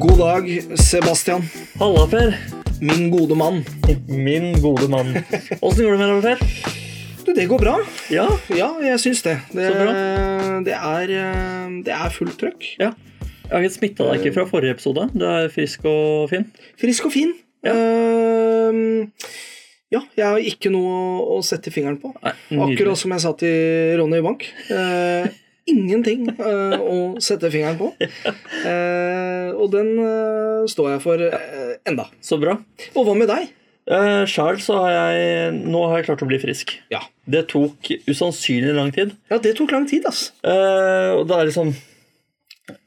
God dag, Sebastian. Halla, Per. Min gode mann. Min gode mann. Åssen går det med deg, Per? Du, det går bra. Ja. Ja, jeg syns det. Det, Så bra. det, er, eh, det er fullt trøkk. ja. Jeg har ikke smitta deg ikke fra forrige episode. Du er frisk og fin. Frisk og fin. Eh, ja, jeg har ikke noe å sette fingeren på. Nei, Akkurat som jeg sa til Ronny Bank. Eh, ingenting eh, å sette fingeren på. Eh, og den eh, står jeg for eh, enda. Så bra. Og hva med deg? Eh, Sjæl så har jeg Nå har jeg klart å bli frisk. Ja. Det tok usannsynlig lang tid. ja, det tok lang tid, ass. Eh, og det er liksom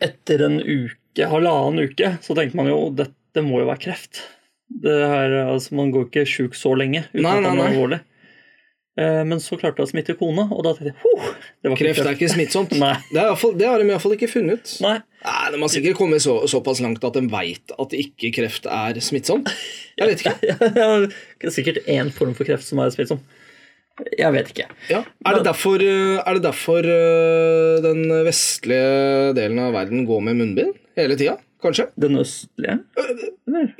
Etter en uke, halvannen uke, så tenkte man jo dette må jo være kreft. Det her, altså Man går ikke sjuk så lenge uten Nei, at nei, man er nei. alvorlig. Eh, men så klarte jeg å smitte kona, og da tenkte jeg huh, det var ikke Kreft er ikke smittsomt. Nei. Det, er i hvert fall, det har de iallfall ikke funnet. Nei. Nei, De har sikkert kommet så, såpass langt at de veit at ikke kreft er smittsomt. Jeg vet ikke. Det er sikkert én form for kreft som er smittsom. Jeg vet ikke. Ja. Er, det derfor, eh, er det derfor eh, den vestlige delen av verden går med munnbind hele tida? Kanskje? Den østlige?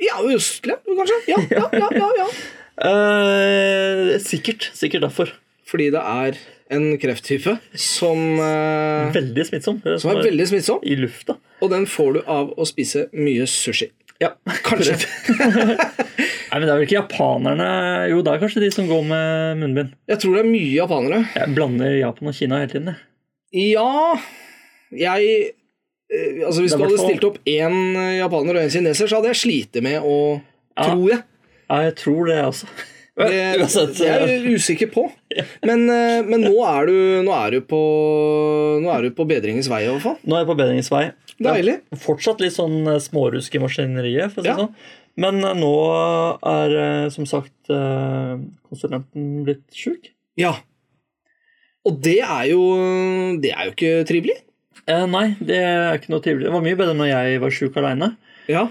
Ja, østlig, kanskje. Ja, ja, ja, ja, ja. Eh, sikkert. Sikkert derfor. Fordi det er en krefttype som, eh, Veldig smittsom. som er veldig smittsom, I lufta. og den får du av å spise mye sushi. Ja, Kanskje. Nei, men Det er vel ikke japanerne Jo, det er kanskje de som går med munnbind. Jeg tror det er mye japanere. Jeg blander Japan og Kina hele tiden. jeg. Ja Jeg eh, Altså Hvis Det er du hadde hvertfall- stilt opp én eh, japaner og én kineser, så hadde jeg slitt med å Ja. Tror jeg. Ja, jeg tror det, altså. Det, Uansett, eh, det er jeg usikker på. Men, eh, men nå, er du, nå, er du på, nå er du på bedringens vei, i hvert fall. Nå er jeg på bedringens vei. Deilig. Det er Fortsatt litt sånn eh, smårusk i maskineriet, for å si Ja. det sånn. Men eh, nå er eh, som sagt eh, konsulenten blitt sjuk. Ja. Og det er jo Det er jo ikke trivelig. Eh, nei, det er ikke noe trivelig. Det var mye bedre når jeg var sjuk aleine. Ja.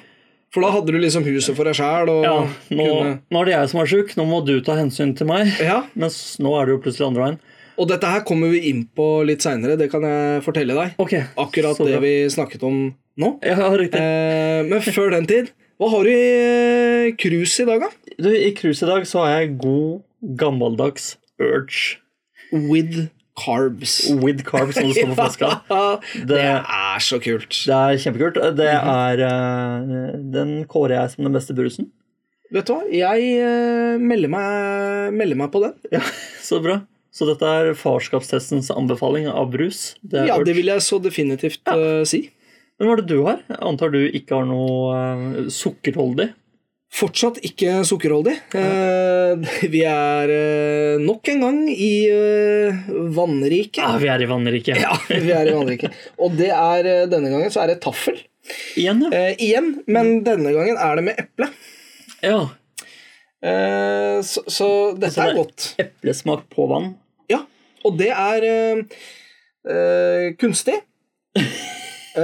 For da hadde du liksom huset for deg sjæl og Ja, nå, kunne nå er det jeg som er sjuk, nå må du ta hensyn til meg. ja. Mens nå er det jo plutselig andre veien. Og dette her kommer vi inn på litt seinere, det kan jeg fortelle deg. Ok, Akkurat så det bra. vi snakket om nå. Ja, riktig. Eh, men før den tid, hva har du i eh, krus i dag, da? Du, I cruise i dag så har jeg god, gammeldags urge With carbs. with carb, som det står på flaska. det er så kult. Det er kjempekult. Det er eh, Den kårer jeg som den beste brusen. Vet du hva, jeg eh, melder meg, melder meg på den. Ja, Så bra. Så dette er farskapstestens anbefaling av brus. Det er Ja, det urge. vil jeg så definitivt eh, si. Men hva er det du har? Jeg antar du ikke har noe eh, sukkerholdig? Fortsatt ikke sukkerholdig. Eh, vi er eh, nok en gang i eh, Ja, vannriket. Ah, vi er i vannriket. Ja, vi er i vannriket. Og det er, eh, denne gangen så er det taffel. Igjen, ja. Eh, igjen, men denne gangen er det med eple. ja. Eh, så, så dette Altså, det- er godt. Eplesmak på vann. Ja, og det er eh, eh, kunstig. Eh,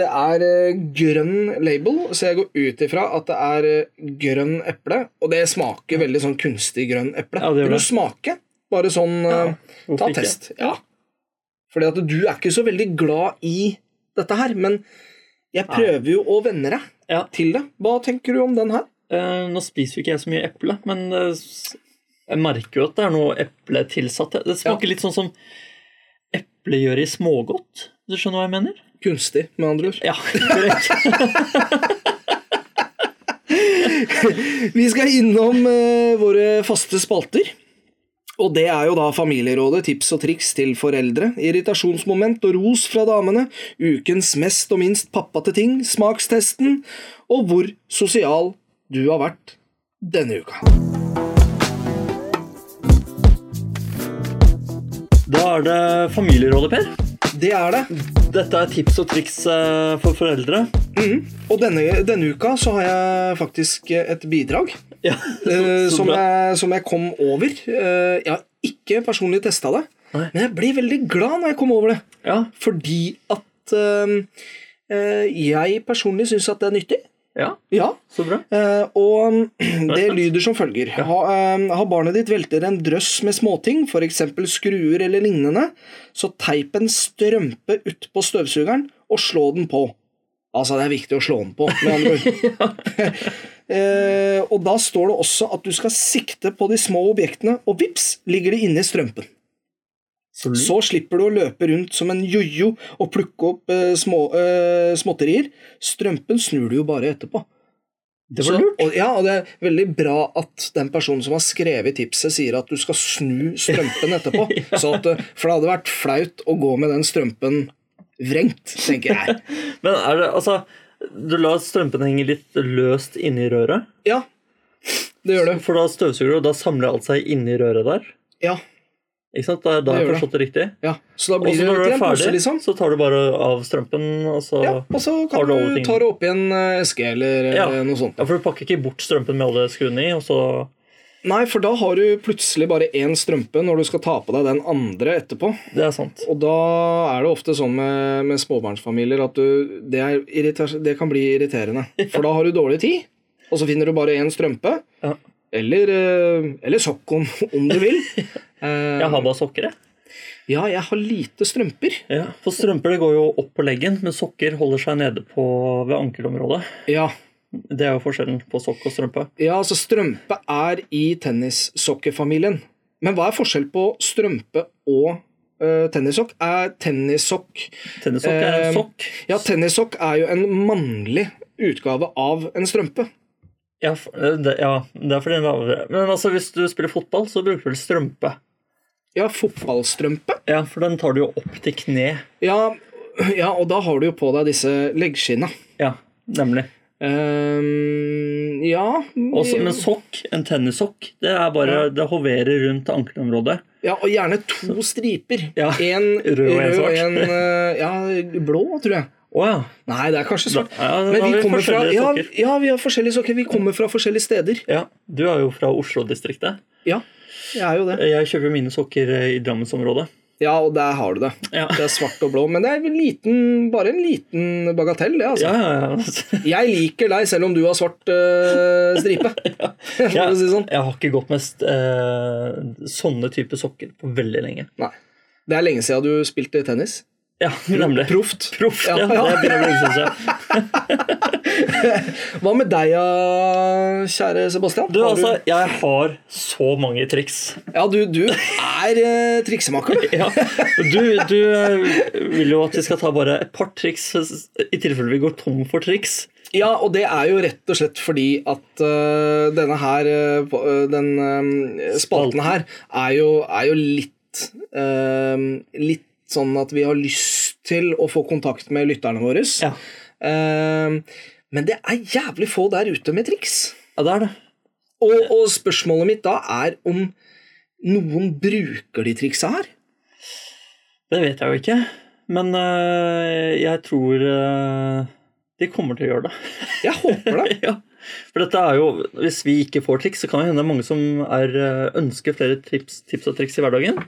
det er eh, grønn label, så jeg går ut ifra at det er eh, grønn eple. Og det smaker veldig sånn kunstig grønn eple. Ja, det gjør Vil det. du smake? Bare sånn eh, Hvorfor Ta ikke? test. Ja. Fordi at du er ikke så veldig glad i dette her, men jeg prøver jo å venne deg Ja. til det. Hva tenker du om den her? Eh, nå spiser jo ikke jeg så mye eple, men eh, s- jeg merker jo at det er noe eple tilsatt. Det smaker litt sånn som eple gjør i smågodt. Du skjønner hva jeg mener? Kunstig, med andre ord. Ja, korrekt. Vi skal innom eh, våre faste spalter. Og det er jo da Familierådet, tips og triks til foreldre, irritasjonsmoment og ros fra damene, ukens mest og minst pappate ting, smakstesten, og hvor sosial du har vært denne uka. Da er det Familierådet, Per. Det er det. Dette er tips og triks eh, for foreldre. Og denne, denne uka så har jeg faktisk et bidrag Ja, eh, så som, bra. jeg, som jeg kom over. Eh, jeg har ikke personlig testa det, Nei. men jeg ble veldig glad når jeg kom over det. Ja, Fordi at øhm, øh, jeg personlig syns at det er nyttig. ja, Ja. så bra. Eh, og øhm, det lyder som følger. Ha, øhm, har barnet ditt velter en drøss med småting, f.eks. skruer eller lignende, så teip en strømpe utpå støvsugeren og slå den på. Altså, det er viktig å slå den på, med andre ord. eh, og da står det også at du skal sikte på de små objektene, og vips ligger de inni strømpen. Så lurt. Så slipper du å løpe rundt som en jojo og plukke opp eh, små, eh, småtterier. Strømpen snur du jo bare etterpå. det var lurt. Så, og, ja, og det er veldig bra at den personen som har skrevet tipset, sier at du skal snu strømpen etterpå. så at, eh, for det hadde vært flaut å gå med den strømpen vrengt, tenker jeg. Men er det altså Du lar strømpen henge litt løst inni røret. Ja, det gjør det. For da støvsuger du, og da samler alt seg inni røret der. Ja, Ikke sant? Da, da Det har jeg gjør forstått det riktig. ja. Så da Og blir så det når du til er en pose, ferdig, liksom. så tar du bare av strømpen, og så Ja, ja. og så Har kan du alle du ta tingene. det opp i en eh, eske eller eh, Ja. noe sånt. For du pakker ikke bort strømpen med alle skruene i, og så Nei, for da har du plutselig bare én strømpe når du skal ta på deg den andre etterpå. Det er sant. Og da er det ofte sånn med, med småbarnsfamilier at du, det, er irriter- det kan bli irriterende. For da har du dårlig tid, og så finner du bare én strømpe. Ja. Eller, eh, eller sokk om, om du vil. Eh, Jeg har bare sokker, jeg. Ja, jeg har lite strømper. Ja. For strømper det går jo opp på leggen, men sokker holder seg nede på, ved ankelområdet. Ja, Det er jo forskjellen på sokk og strømpe. ja altså strømpe er i tennissokkefamilien. Men hva er forskjell på strømpe og eh, tennissokk? Er tennissokk Tennissokk er Eh, en sokk. Ja, tennissokk er jo en mannlig utgave av en strømpe. Ja, f- eh, det, ja, det er fordi den er lavere. Men altså, hvis du spiller fotball, så bruker du vel strømpe. Ja, fotballstrømpe. Ja, for den tar du jo opp til kne. Ja, ja, og da har du jo på deg disse leggskinna. Ja, nemlig. Ehm, ja Også, men sokk, en tennissokk, det er bare Ja. Det hoverer rundt ankelområdet. ja, Og gjerne to striper. Ja, En rød og en svart. en, eh, ja, blå, tror jeg. Å ja. Nei, det er kanskje Da, svart. ja, da Men har vi vi kommer fra, forskjellige ja, sokker. ja, vi har forskjellige sokker. Vi kommer fra forskjellige steder. Ja, Du er jo fra Oslo-distriktet. Ja, jeg er jo det. Jeg kjøper mine sokker eh, i Drammensområdet. Ja, og der har du det. Ja. Det er svart og blå. Men det er en liten, bare en liten bagatell, det, altså. Ja, ja, ja. Jeg liker deg selv om du har svart eh, stripe. For å Jeg, si det sånn. jeg har ikke gått med st- eh, sånne type sokker på veldig lenge. Nei. Det er lenge siden du spilte tennis. Ja, nemlig. Proft. Proff. Ja, Ja, ja. Det begynner å bli usikker. Hva med deg, ja, kjære Sebastian? Du, Har altså, jeg har så mange triks. Ja, du, du er eh, triksemaker, du. Ja. Du, du eh, vil jo at vi skal ta bare et par triks i tilfelle vi går tom for triks. Ja, og det er jo rett og slett fordi at eh, denne her eh, på- eh, Den eh, spalten her er jo, er jo litt eh, Litt sånn at vi har lyst til å få kontakt med lytterne våre. Ja. Eh, men det er jævlig få der ute med triks. Ja, det er det. Og, og spørsmålet mitt da er om noen bruker de triksa her. Det vet jeg jo ikke. Men øh, jeg tror øh, de kommer til å gjøre det. Jeg håper det. ja. For dette er jo, Hvis vi ikke får triks, så kan det hende det er mange som er, øh, ønsker flere tips, tips og triks i hverdagen.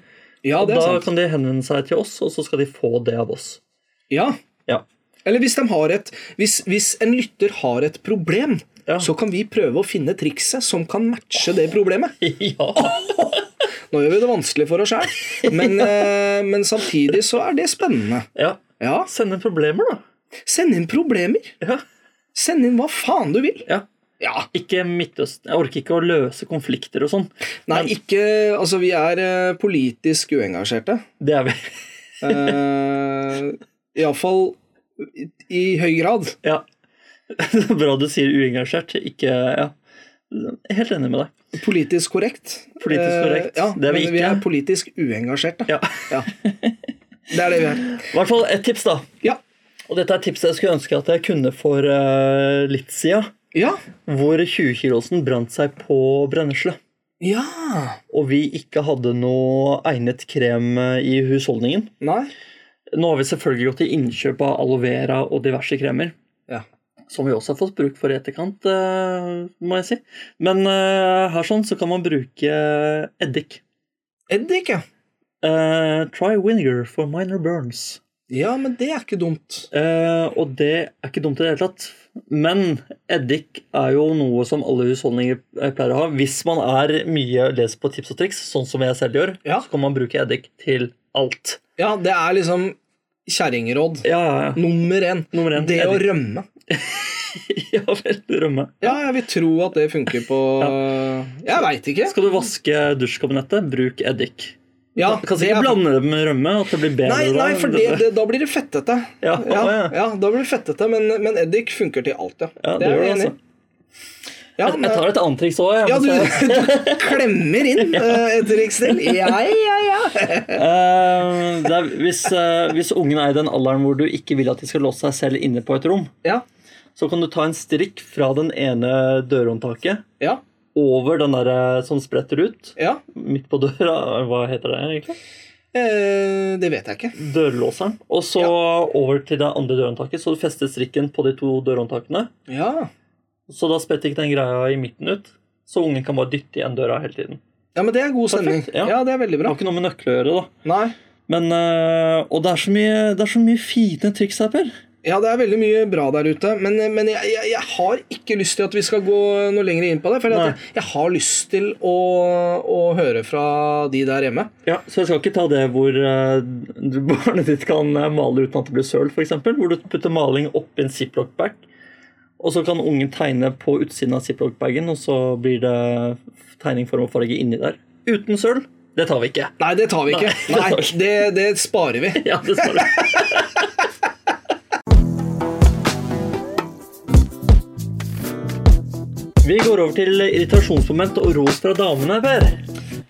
Ja, og det da er sant. kan de henvende seg til oss, og så skal de få det av oss. Ja. Ja. Eller hvis, de har et, hvis, hvis en lytter har et problem, Ja. så kan vi prøve å finne trikset som kan matche det problemet. ja. Nå gjør vi det vanskelig for oss sjøl, men, eh, men samtidig så er det spennende. ja. Ja, Sende problemer, da. Send inn problemer. Ja. Send inn hva faen du vil. ja. Ja, Ikke Midtøsten. Jeg orker ikke å løse konflikter og sånn. Nei, ikke Altså, vi er eh, politisk uengasjerte. Det er vi. Uh, Iallfall i, i høy grad. Ja. Bra du sier uengasjert. Ikke Ja. Helt enig med deg. Politisk korrekt. Politisk Eh, korrekt. ja, Det er vi men vi ikke. er politisk uengasjerte. Ja. Ja. Det er det vi er. I hvert fall et tips, da. Ja. Og dette er tipset jeg skulle ønske at jeg kunne for eh, litt sida. Ja. Hvor 20-kilosen brant seg på brennesle. ja. Og vi ikke hadde noe egnet krem eh, i husholdningen. Nei. Nå har vi selvfølgelig gått til innkjøp av aloe vera og diverse kremer. Ja. Som vi også har fått bruk for i etterkant, eh, må jeg si. Men eh, her sånn så kan man bruke eh, eddik. Eddik, ja. Eh, try vinegar for minor burns. Ja, men det er ikke dumt. Eh, og det er ikke dumt i det hele tatt. Men eddik er jo noe som alle husholdninger eh, pleier å ha. Hvis man er mye leser på tips og triks, sånn som jeg selv gjør, Ja. så kan man bruke eddik til alt. Ja, det er liksom kjerringråd. Ja, ja, ja. Nummer én. Nummer én. Det å Eddik. rømme. ja vel, rømme. Ja, jeg vil tro at det funker på Jeg veit ikke. Skal du vaske dusjkabinettet, bruk eddik. Ja, Du kan det ikke er- blande det med rømme. at det blir bedre Nei, nei, da. for det, det, da blir det fettete. Ja, Ja, å, ja. ja, da blir det fettete, men, men eddik funker til alt, ja. Ja, det gjør det, jeg altså. enig i. Ja, Jeg, jeg tar et annet triks òg. ja, du, du klemmer inn eh, et riksdel. Ja, ja, ja. hvis, eh, hvis ungen er i den alderen hvor du ikke vil at de skal låse seg selv inne på et rom, Ja, så kan du ta en strikk fra den ene dørhåndtaket ja, over den der eh, som spretter ut ja. midt på døra. Hva heter det egentlig? Eh, det vet jeg ikke. Dørlåseren. Og så over til det andre dørhåndtaket, så du fester strikken på de to dørhåndtakene. Ja, Så da spretter ikke den greia i midten ut, så ungen kan bare dytte igjen døra hele tiden. ja men det er god stemning. Perfekt, ja. Ja, det er veldig Det bra. har ikke noe med nøkler å gjøre, da. Nei. Men, eh, og det er, så mye, det er så mye fine triks her, Per. Ja, det er veldig mye bra der ute, men, eh, men jeg, jeg, jeg har ikke lyst til at vi skal gå noe lenger inn på det. For Nei. jeg, jeg har lyst til å, å høre fra de der hjemme. Ja, Så jeg skal ikke ta det hvor eh, du- barnet ditt kan eh, male uten at det blir søl, f.eks. Hvor du putter maling oppi en ziplock-bag, og så kan ungen tegne på utsiden av ziplock-bagen, og så blir det tegning, form og farge inni der. Uten søl. Det tar vi ikke. Nei, det tar vi ikke. Nei, det Nei, tar vi ikke. det, det sparer vi. Ja, det står det. Vi går over til irritasjonsmoment og ros fra damene, Per.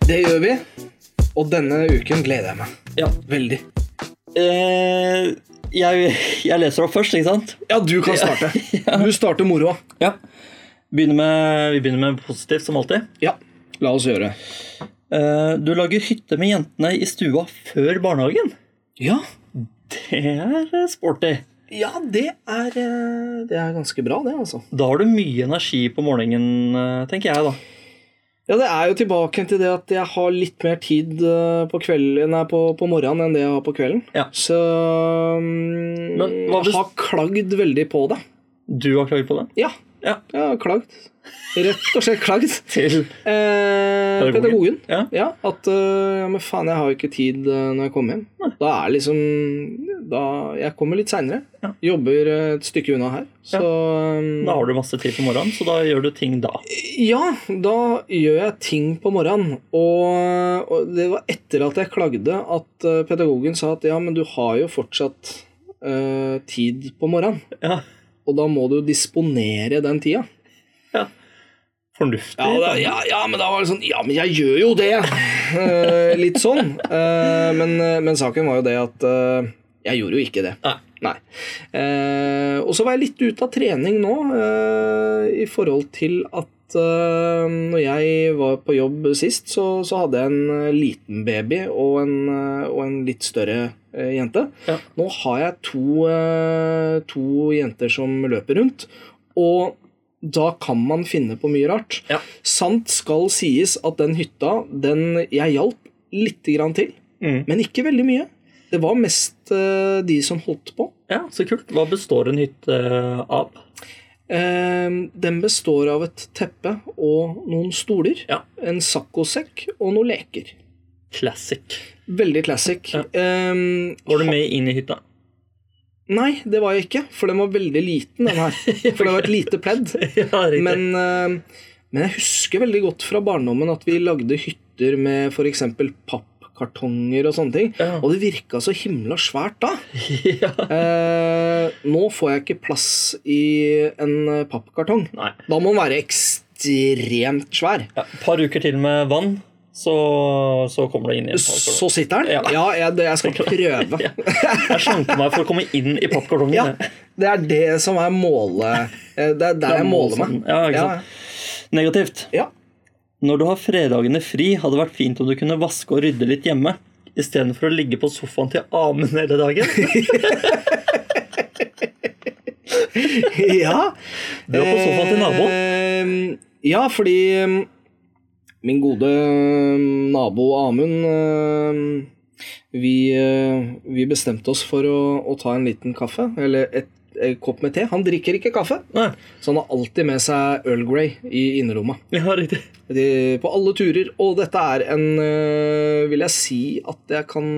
Det gjør vi. Og denne uken gleder jeg meg Ja. veldig. Eh, jeg, jeg leser opp først, ikke sant? Ja, du kan starte. Du starter moroa. Ja. Begynner med, vi begynner med positivt, som alltid. Ja, la oss gjøre det. Eh, du lager hytte med jentene i stua før barnehagen. Ja. Det er eh, sporty. ja, det er eh, Det er ganske bra, det, altså. Da har du mye energi på morgenen, eh, tenker jeg, da. Ja, det er jo tilbake til det at jeg har litt mer tid eh, på, kvelden, nei, på, på morgenen enn det jeg har på kvelden. Ja. Så mm, Men hva hvis- jeg har klagd veldig på det. Du har klaget på det? Ja. Ja. Jeg har klagd. Rett og slett klagd. Til Eh, Pedagogen. pedagogen. Ja. Ja, at eh, ja, men faen, jeg har jo ikke tid eh, når jeg kommer hjem. Da er liksom da, Jeg kommer litt seinere. Ja. Jobber eh, et stykke unna her. Så eh, Da har du masse tid på morgenen, så da gjør du ting da. Ja, da gjør jeg ting på morgenen. Og, og det var etter at jeg klagde at eh, pedagogen sa at ja, men du har jo fortsatt eh, tid på morgenen. Ja. Og da må du disponere den tida. Fornuftig. Ja, da, da. ja, ja, men da var det sånn Ja, men jeg gjør jo det! Eh, litt sånn. Eh, men, men saken var jo det at eh, jeg gjorde jo ikke det. Nei. Eh, og så var jeg litt ute av trening nå eh, i forhold til at eh, når jeg var på jobb sist, så, så hadde jeg en eh, liten baby og en, eh, og en litt større eh, jente. Ja. Nå har jeg to, eh, to jenter som løper rundt, og da kan man finne på mye rart. Ja. Sant skal sies at den hytta, den jeg hjalp lite grann til, Mm. men ikke veldig mye. Det var mest eh, de som holdt på. ja, så kult. Hva består en hytte av? Eh, den består av et teppe og noen stoler, Ja. en saccosekk og noen leker. Classic. Veldig classic. Ja. Eh, Var du med inn i hytta? nei, det var jeg ikke, for den var veldig liten, den her. For det var et lite pledd. ja, riktig. Men, eh, men jeg husker veldig godt fra barndommen at vi lagde hytter med f.eks. pappkartonger og sånne ting. Ja. Og det virka så himla svært da. ja. Eh, nå får jeg ikke plass i en eh, pappkartong. Nei. Da må den være ekstremt svær. Ja, et par uker til med vann, så, så kommer du inn i en pappkartong. Så sitter den. Ja. Ja, jeg, det- jeg skal prøve. Jeg slanker meg for å komme inn i pappkartongen. Ja, det er det som er måle... eh, Det er der jeg måler meg. Ja, ikke Ja, sant? Negativt. ja. Når du har fredagene fri, hadde det vært fint om du kunne vaske og rydde litt hjemme. Istedenfor å ligge på sofaen til amen hele dagen. ja. Du var på sofaen til naboen. Eh, Ja, fordi eh, min gode eh, nabo Amund eh, vi, eh, vi bestemte oss for å, å ta en liten kaffe, eller et, en kopp med te. Han drikker ikke kaffe, Nei, så han har alltid med seg Earl Grey i innerlomma. ja, riktig. eh, De, på alle turer. Og dette er en øh, Vil jeg si at jeg kan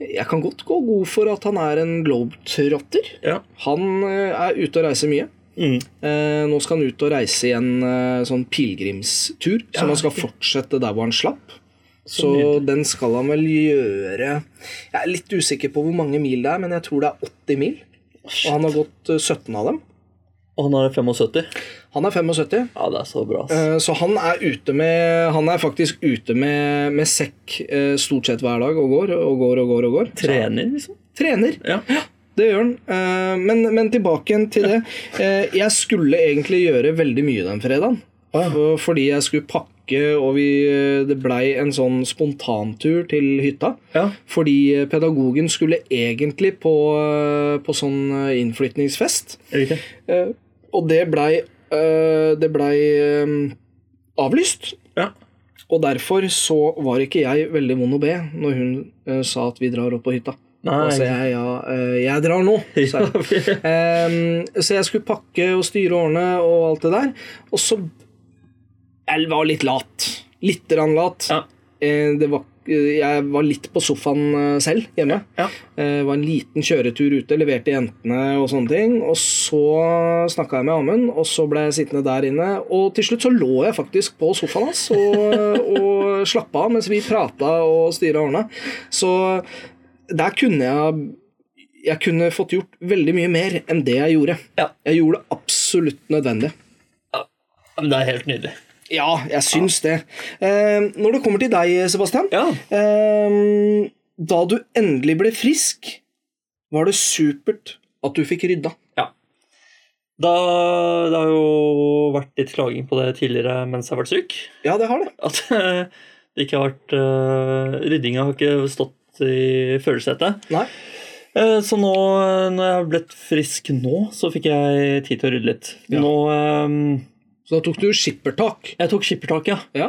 Jeg kan godt gå god for at han er en globetrotter. Ja. Han eh, er ute og reiser mye. Mm. Eh, nå skal han ut og reise i en eh, sånn pilegrimstur, Ja, som han skal riktig. fortsette der hvor han slapp. Så Så den skal han vel gjøre Jeg er litt usikker på hvor mange mil det er, men jeg tror det er 80 mil. Og han har gått eh, 17 av dem. Og han er 75. Han er 75, Ja, det er så bra. ass. eh, så han er ute med Han er faktisk ute med, med sekk eh, stort sett hver dag og går og går og går. og går. Så han Trener, liksom. trener. Ja. Det gjør han. Eh, Men, men tilbake igjen til det. Eh, Jeg skulle egentlig gjøre veldig mye den fredagen. For- Fordi jeg skulle pakke, og vi, eh, det blei en sånn spontantur til hytta. Ja. Fordi pedagogen skulle egentlig på, eh, på sånn eh, innflytningsfest. Riktig. Eh, Og det blei eh, Det blei eh, avlyst. Ja. Og derfor så var ikke jeg veldig vond å be når hun eh, sa at vi drar opp på hytta. Nei. Og så jeg ja, eh, jeg drar nå, sa jeg. Ehm, så jeg skulle pakke og styre og ordne og alt det der. Og så Jeg var litt lat. Litt grann lat. Ja. Eh, det var, eh, jeg var litt på sofaen eh, selv hjemme. Ja. Eh, var en liten kjøretur ute, leverte jentene og sånne ting. Og så snakka jeg med Amund, og så ble jeg sittende der inne. Og til slutt så lå jeg faktisk på sofaen hans og, og slappa av mens vi prata og styra og ordna. Så der kunne jeg Jeg kunne fått gjort veldig mye mer enn det jeg gjorde. Ja. Jeg gjorde det absolutt nødvendig. Men det er helt nydelig. Ja, jeg syns det. Eh, når det kommer til deg, Sebastian. Ja. Eh, da du endelig ble frisk, var det supert at du fikk rydda. Da, det har jo vært litt klaging på det tidligere mens jeg har vært syk. Ja, det har det. At eh, det ikke har vært eh, Ryddinga har ikke stått i førersetet. Nei. Eh, Så nå eh, når jeg har blitt frisk nå, så fikk jeg tid til å rydde litt. Ja. Nå eh, Så da tok du skippertak. Jeg tok skippertak, ja. Ja.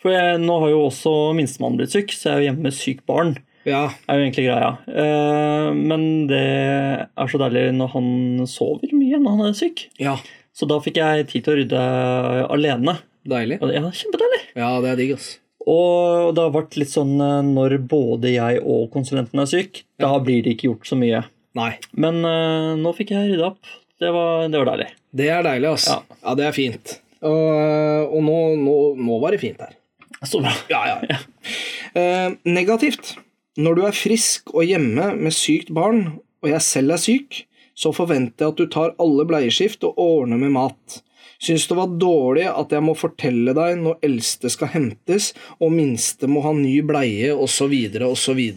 For jeg, nå har jo også minstemann blitt syk, så jeg er jo hjemme med sykt barn. ja. er jo egentlig greia. Eh, Men det er så deilig når han sover mye når han er syk. Ja. Så da fikk jeg tid til å rydde alene. Deilig. Og det er kjempedeilig. Ja, det er digg, ass. Og det har vært litt sånn eh, når både jeg og konsulenten er syk, da blir det ikke gjort så mye. Nei. Men eh, nå fikk jeg rydda opp. Det var, det var deilig. Det er deilig, ass. Ja. Ja, det er fint. Og, og nå, nå, nå var det fint her. Så bra. Ja, ja. Eh, negativt. Når du er frisk og hjemme med sykt barn, og jeg selv er syk, så forventer jeg at du tar alle bleieskift og ordner med mat. Syns det var dårlig at jeg må fortelle deg når eldste skal hentes, og minste må ha ny bleie, osv., osv.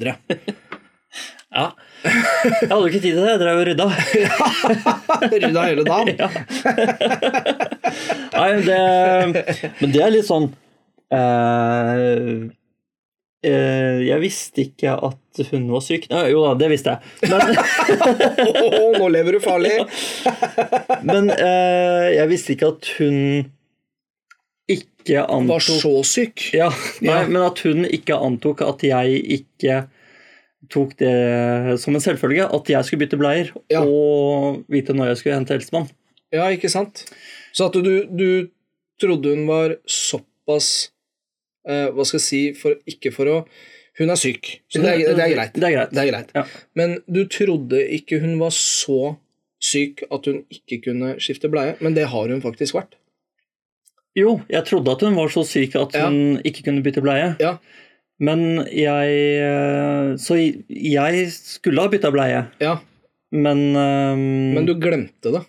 Ja. Jeg hadde jo ikke tid til det. Jeg drev og rydda. Rydda hele dagen. Nei, det, men det er litt sånn eh, eh, Jeg visste ikke at hun var syk. Nei, jo da, det visste jeg. Men, Åh, nå lever du farlig! men eh, jeg visste ikke at hun ikke Var antok så syk. ja, nei, Ja. Men at hun ikke antok at jeg ikke tok det som en selvfølge. At jeg skulle bytte bleier Ja. og vite når jeg skulle hente helsemann. Ja, ikke sant? Så at du, du trodde hun var såpass eh, Hva skal jeg si for, Ikke for å Hun er syk, så det er, det er greit. Det er greit. Det er greit. Ja. Men du trodde ikke hun var så syk at hun ikke kunne skifte bleie, men det har hun faktisk vært. Jo, jeg trodde at hun var så syk at Ja. hun ikke kunne bytte bleie. Ja. Men jeg eh, Så jeg skulle ha bytta bleie, Ja, men, ehm, Men du glemte det.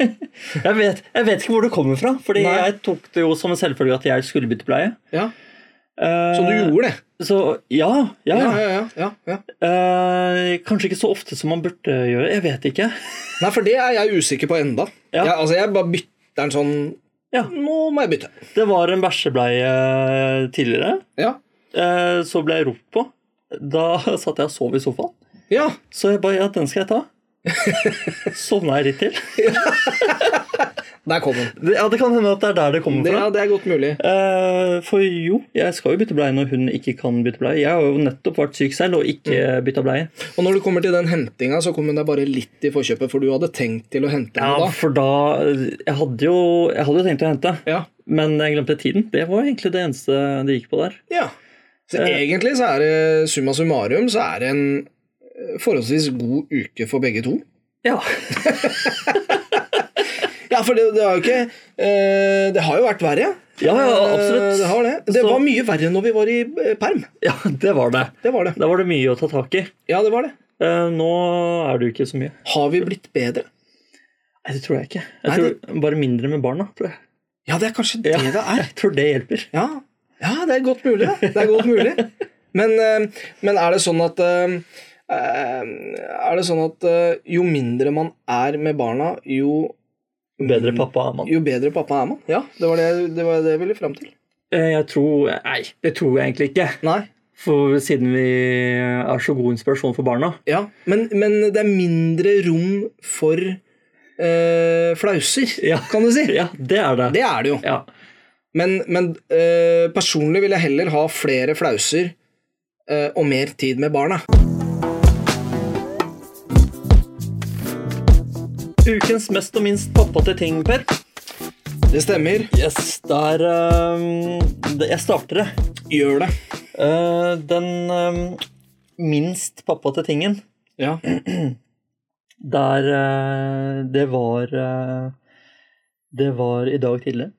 jeg, vet, jeg vet ikke hvor det kommer fra. Fordi Nei. jeg tok det jo som en selvfølge at jeg skulle bytte bleie. Ja, Eh, Så du gjorde det? Så ja. ja, Ja, ja, ja. ja, ja. Eh, kanskje ikke så ofte som man burde gjøre. Jeg vet ikke. Nei, for det er jeg usikker på enda. Ja. Jeg, altså, jeg bare bytter den sånn Ja. Nå må jeg bytte. Det var en bæsjebleie tidligere. Ja. eh, så ble jeg ropt på. Da satt jeg og sov i sofaen. Ja. Så jeg bare Ja, den skal jeg ta. Sovna jeg litt til. Der kom den. Det- Ja, Det kan hende at det er der det kommer Det, fra. ja, det er godt mulig. Eh, for jo, jeg skal jo bytte bleie når hun ikke kan bytte bleie. Jeg har jo nettopp vært syk selv og Mm. ikke bytta bleie. Og når du kommer til den hentinga, så kom hun deg bare litt i forkjøpet, for du hadde tenkt til å hente Ja, henne da. for da Jeg hadde jo, jeg hadde jo tenkt å hente, Ja. men jeg glemte tiden. Det var egentlig det eneste det gikk på der. ja. Så egentlig så er det summa summarum så er det en eh, forholdsvis god uke for begge to. Ja. Ja, for det, det har jo ikke eh, Det har jo vært verre. Ja, ja, absolutt. Eh, Det har det. Det Så- var mye verre når vi var i eh, perm. ja, det var det. Det var det. Da var det mye å ta tak i. Ja, det var det. Eh, Nå er det jo ikke så mye. Har vi blitt bedre? Nei, det tror jeg ikke. Nei, Jeg tror Bare mindre med barna, tror jeg. Ja, det er kanskje Ja. det det er. Jeg tror det hjelper. Ja, ja det er godt mulig. Det Det er godt mulig. Men, eh, men er det sånn at eh, eh, Er det sånn at eh, jo mindre man er med barna, jo, Mm. Bedre pappa er man. jo bedre pappa er man? Ja, det var det, det, var det jeg ville fram til. Eh, Jeg tror Nei, det tror jeg egentlig ikke. Nei. For siden vi er så god inspirasjon for barna. Ja, men, men det er mindre rom for eh, flauser, Ja. kan du si. Ja, det er det. Det er det jo. Ja. Men, men eh, personlig vil jeg heller ha flere flauser eh, og mer tid med barna. Ukens mest og minst pappate ting, Per. Det stemmer. Yes, der ehm, det- Jeg starter, jeg. Gjør det. Eh, den ehm, minst pappate tingen Ja. der eh, Det var eh, Det var i dag tidlig.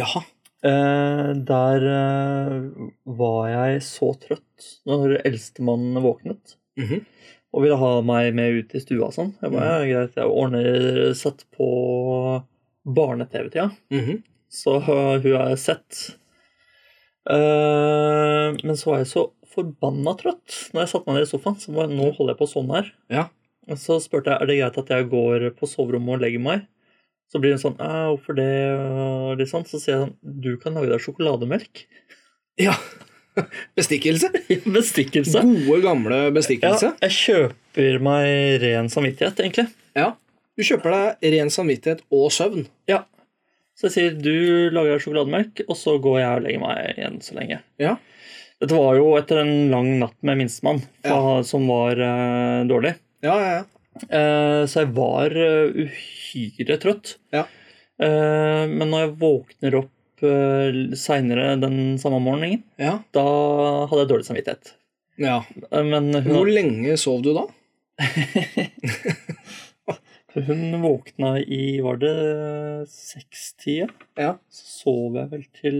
Jaha. Eh, der eh, var jeg så trøtt når eldstemann våknet. Mhm. og ville ha meg med ut i stua og sånn. Jeg bare, ja, greit, jeg ordner sett på barne-TV-tida, Mhm. så øh, hun har jeg sett. Eh, men så var jeg så forbanna trøtt når jeg satte meg ned i sofaen. Så bare, nå holder jeg på sånn her. Ja. Og så spurte jeg er det greit at jeg går på soverommet og legger meg. Så blir hun sånn «Æ, hvorfor det? og litt sånn. Så sier jeg sånn du kan lage deg sjokolademelk. Ja. Bestikkelse. Bestikkelse. Gode, gamle Ja, bestikkelse. jeg kjøper meg ren samvittighet, egentlig. Ja. Du kjøper deg ren samvittighet og søvn. Ja. Så jeg sier du lager sjokolademelk, og så går jeg og legger meg igjen så lenge. Ja. Dette var jo etter en lang natt med minstemann, Ja. fa- som var eh, dårlig. Ja, ja, ja. Eh, så jeg var eh, uhyre trøtt. Ja. Eh, men når jeg våkner opp uh, seinere den samme morgenen, ja. da hadde jeg dårlig samvittighet. ja. Eh, men Hvor hun, lenge sov du da? hun våkna i Var det sekstida? Ja. så sov jeg vel til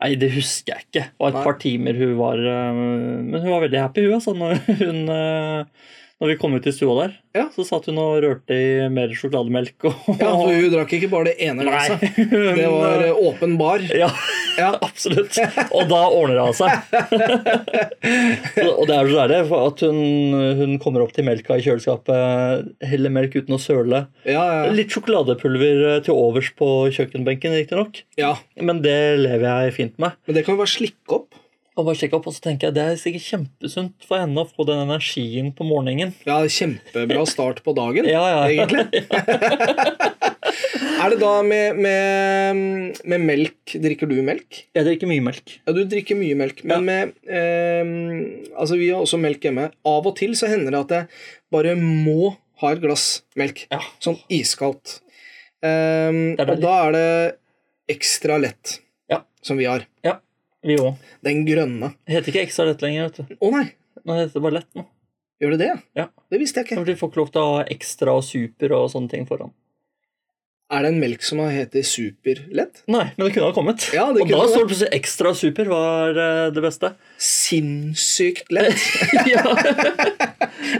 Nei, det husker jeg ikke. Det var et Nei. par timer hun var øh, Men hun var veldig happy, hun, altså. Når, hun, øh, når vi kom ut i stua der, Ja. så satt hun og rørte i mer sjokolademelk og Ja, for Hun drakk ikke bare det ene glasset. Nei. hun, Det var øh, eh, åpen bar. Ja, Ja. absolutt. Og da ordner det seg. Så- og det er så deilig for at hun, hun kommer opp til melka i kjøleskapet, heller melk uten å søle. Ja, ja. Litt sjokoladepulver øh, til overs på kjøkkenbenken, riktignok. ja. Men det lever jeg fint med. Men det kan jo bare slikke opp. Og bare sjekke opp, og så tenker jeg Det er sikkert kjempesunt for henne å få den energien på morgenen. Ja, Kjempebra start på dagen, Ja, ja. egentlig. er det da med, med, med melk Drikker du melk? Jeg drikker mye melk. Ja, du drikker mye melk, men Ja. med eh, Altså, vi har også melk hjemme. Av og til så hender det at jeg bare må ha et glass melk. Ja. Sånn iskaldt. Ehm, Det er og deilig. da er det ekstra lett, Ja. som vi har. Vi òg. Den grønne. Heter ikke ekstra lett lenger, vet du. Å nei, Nå heter det bare lett nå. gjør det det? Ja. Det visste jeg ikke. For De får ikke lov til å ha ekstra og super og sånne ting foran. Er det en melk som heter superlett? Nei, men det kunne ha kommet. Ja, det og kunne da det. står det plutselig ekstra og super var eh, det beste. Sinnssykt lett. ja.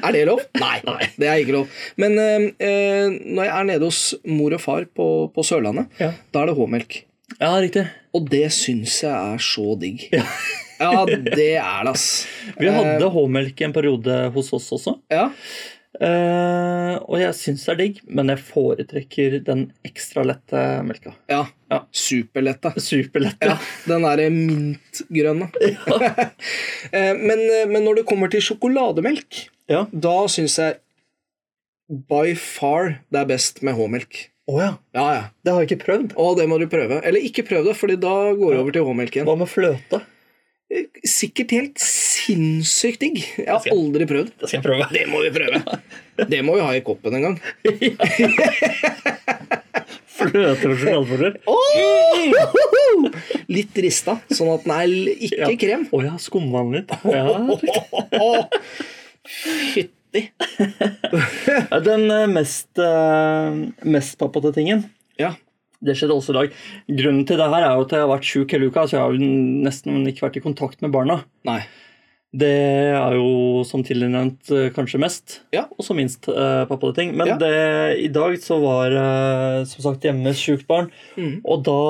Er det lov? Nei, det er ikke lov. Men eh, eh, når jeg er nede hos mor og far på, på Sørlandet, Ja. da er det H-melk. ja, riktig. Og det syns jeg er så digg. Ja, det er det, ass. Vi hadde H-melk en periode hos oss også. Ja, Eh, og jeg syns det er digg, men jeg foretrekker den ekstra lette melka. ja. Ja. Superlette. Superlette. Ja, den derre mintgrønne. Eh, men, eh, men når det kommer til sjokolademelk, Ja. da syns jeg by far det er best med H-melk. Å ja. Ja, ja. Det har jeg ikke prøvd. Og det må du prøve. Eller ikke prøv det, Fordi da går det over til H-melk igjen. Eh, Hva med fløte? Sikkert helt sinnssykt digg. Jeg har aldri prøvd. Det skal jeg prøve. Det må vi prøve. Det må vi ha i koppen en gang. Fløte og sjokoladeposer. Åh! Woo! Litt rista, sånn at den er l- ikke Ja. krem. Å ja, skumvann litt. Ja. Fytti. Den eh, mest, eh, mest pappate tingen Ja. Det skjedde også i dag. Grunnen til det her er jo at jeg har vært sjuk hele uka, så jeg har jo nesten ikke vært i kontakt med barna. Nei. Det er jo som tidligere nevnt eh, kanskje mest, Ja. og så minst eh, pappate ting. Men Ja. det, i dag så var eh, som sagt hjemme et sjukt barn, Mhm. og da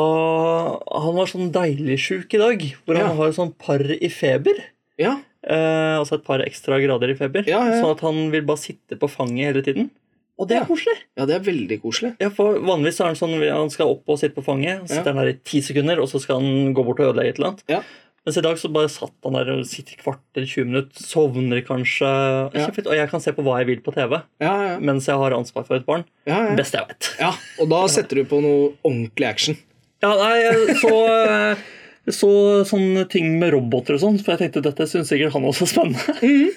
Han var sånn deilig sjuk i dag, hvor Ja. han har sånn par i feber. Ja. Eh, altså et par ekstra grader i feber. Ja, ja, ja. Sånn at han vil bare sitte på fanget hele tiden. Og det er Ja. koselig. ja, det er veldig koselig. Ja, for Vanligvis så er han sånn han skal opp og sitte på fanget. Så sitter han der i ti sekunder, og så skal han gå bort og ødelegge et eller annet. Ja. Mens i dag så bare satt han der og sitter i kvarter, 20 minutter, sovner kanskje. Ja. Kjempefint. Og jeg kan se på hva jeg vil på TV Ja, ja, ja. mens jeg har ansvar for et barn. ja, ja. Beste jeg vet. ja og da setter du på noe ordentlig action. Ja, nei, så, eh, så sånne ting med roboter og sånn, for jeg tenkte dette syns sikkert han også er spennende.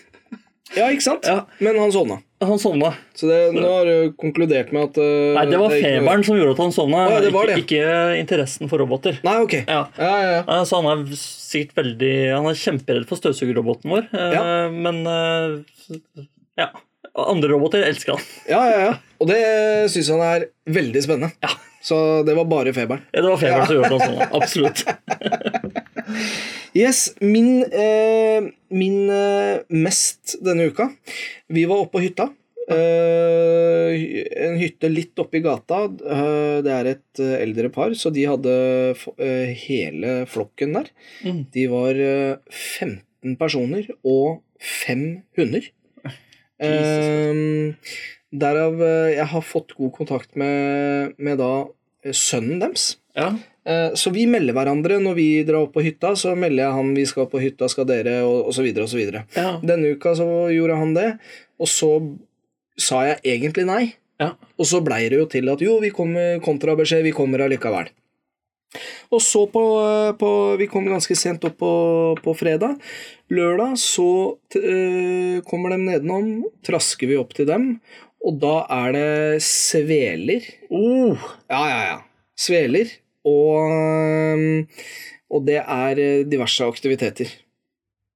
Ja, ikke sant? Ja. Men han sovna. Han sovna. Så det, nå har du konkludert med at eh, Nei, det var er ikke noe- feberen som gjorde at han sovna, Å, ja, det var det. Ikke, ikke interessen for roboter. Nei, ok. Ja, Ja. ja, ja. Ja, Eh, Så han er sikkert veldig Han er kjemperedd for støvsugerroboten vår, eh, Ja. men eh, ja. Andre roboter elsker han. ja, ja, ja. Og det syns han er veldig spennende. Ja. Så det var bare feberen. Ja, Det var feberen som gjorde han sånn. Absolutt. Yes, min, eh, min eh, mest denne uka Vi var oppe på hytta. Eh, hy- en hytte litt oppi gata. Eh, det er et eh, eldre par, så de hadde f- eh, hele flokken der. Mm. De var eh, 15 personer og fem hunder. Eh, derav eh, jeg har fått god kontakt med, med da eh, sønnen deres. Ja. Eh, Så vi melder hverandre når vi drar opp på hytta. Så melder jeg han vi skal på hytta, skal dere, og osv. osv. Ja. Denne uka så gjorde han det, og så sa jeg egentlig nei. Ja. Og så blei det jo til at jo, vi kom med kontrabeskjed, vi kommer allikevel. Og så på, eh, på Vi kom ganske sent opp på, på fredag. Lørdag så t eh, kommer de nedenom, trasker vi opp til dem, og da er det sveler Oh, ja, ja, ja. Sveler. Og, og det er eh, diverse aktiviteter.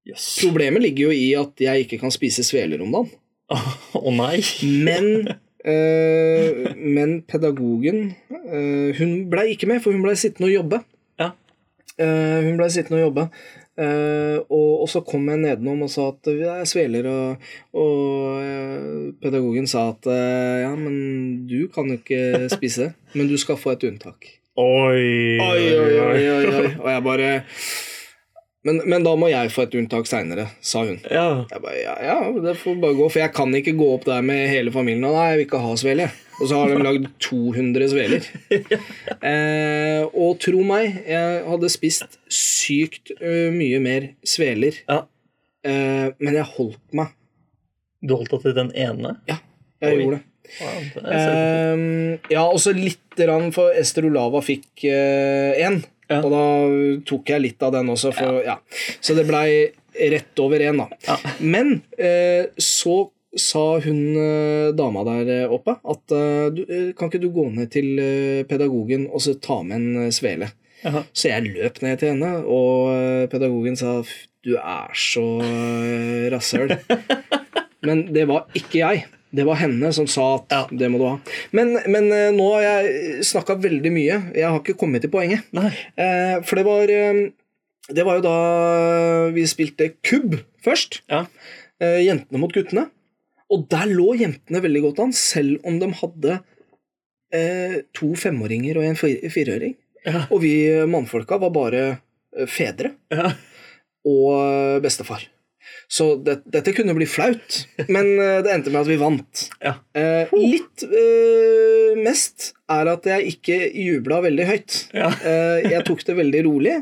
jøss. Problemet ligger jo i at jeg ikke kan spise sveler om dagen. Å nei. Men, eh, men pedagogen eh, Hun blei ikke med, for hun blei sittende og jobbe. Ja. Eh, hun blei sittende og jobbe. Eh, og, og så kom jeg nedenom og sa at det er sveler, og, og eh, pedagogen sa at eh, ja, men du kan jo ikke spise det, men du skal få et unntak. Oi. Oi, oi, oi, oi, oi. Og jeg bare men, men da må jeg få et unntak seinere, sa hun. Ja. Jeg bare, ja, ja, det får bare gå, for jeg kan ikke gå opp der med hele familien. Og nei, jeg vil ikke ha svele. Og så har de lagd 200 sveler. Eh, og tro meg, jeg hadde spist sykt ø, mye mer sveler, ja. eh, men jeg holdt meg. Du holdt deg til den ene? Ja, jeg Oi. gjorde det. Ja, det ser- Ehm, ja, og så litt rann, for Esterolava fikk én. Ja. Og da tok jeg litt av den også, for, ja. så det blei rett over én, da. Ja. Men eh, så sa hun eh, dama der oppe at eh, du, eh, kan ikke du gå ned til eh, pedagogen og så ta med en eh, svele? Jaha. Så jeg løp ned til henne, og eh, pedagogen sa "F- du er så eh, rasshøl. Men det var ikke jeg. Det var henne som sa at Ja. det må du ha. Men, men eh, nå har jeg snakka veldig mye. Jeg har ikke kommet til poenget. Nei. Eh, For det var eh, Det var jo da vi spilte kubb først. Ja. eh, Jentene mot guttene. Og der lå jentene veldig godt an, selv om de hadde eh, to femåringer og en fire- fireåring. Ja. Og vi eh, mannfolka var bare eh, fedre Ja. og eh, bestefar. Så det, dette kunne bli flaut, men eh, det endte med at vi vant. ja. Eh, litt eh, mest er at jeg ikke jubla veldig høyt. Ja. Eh, jeg tok det veldig rolig.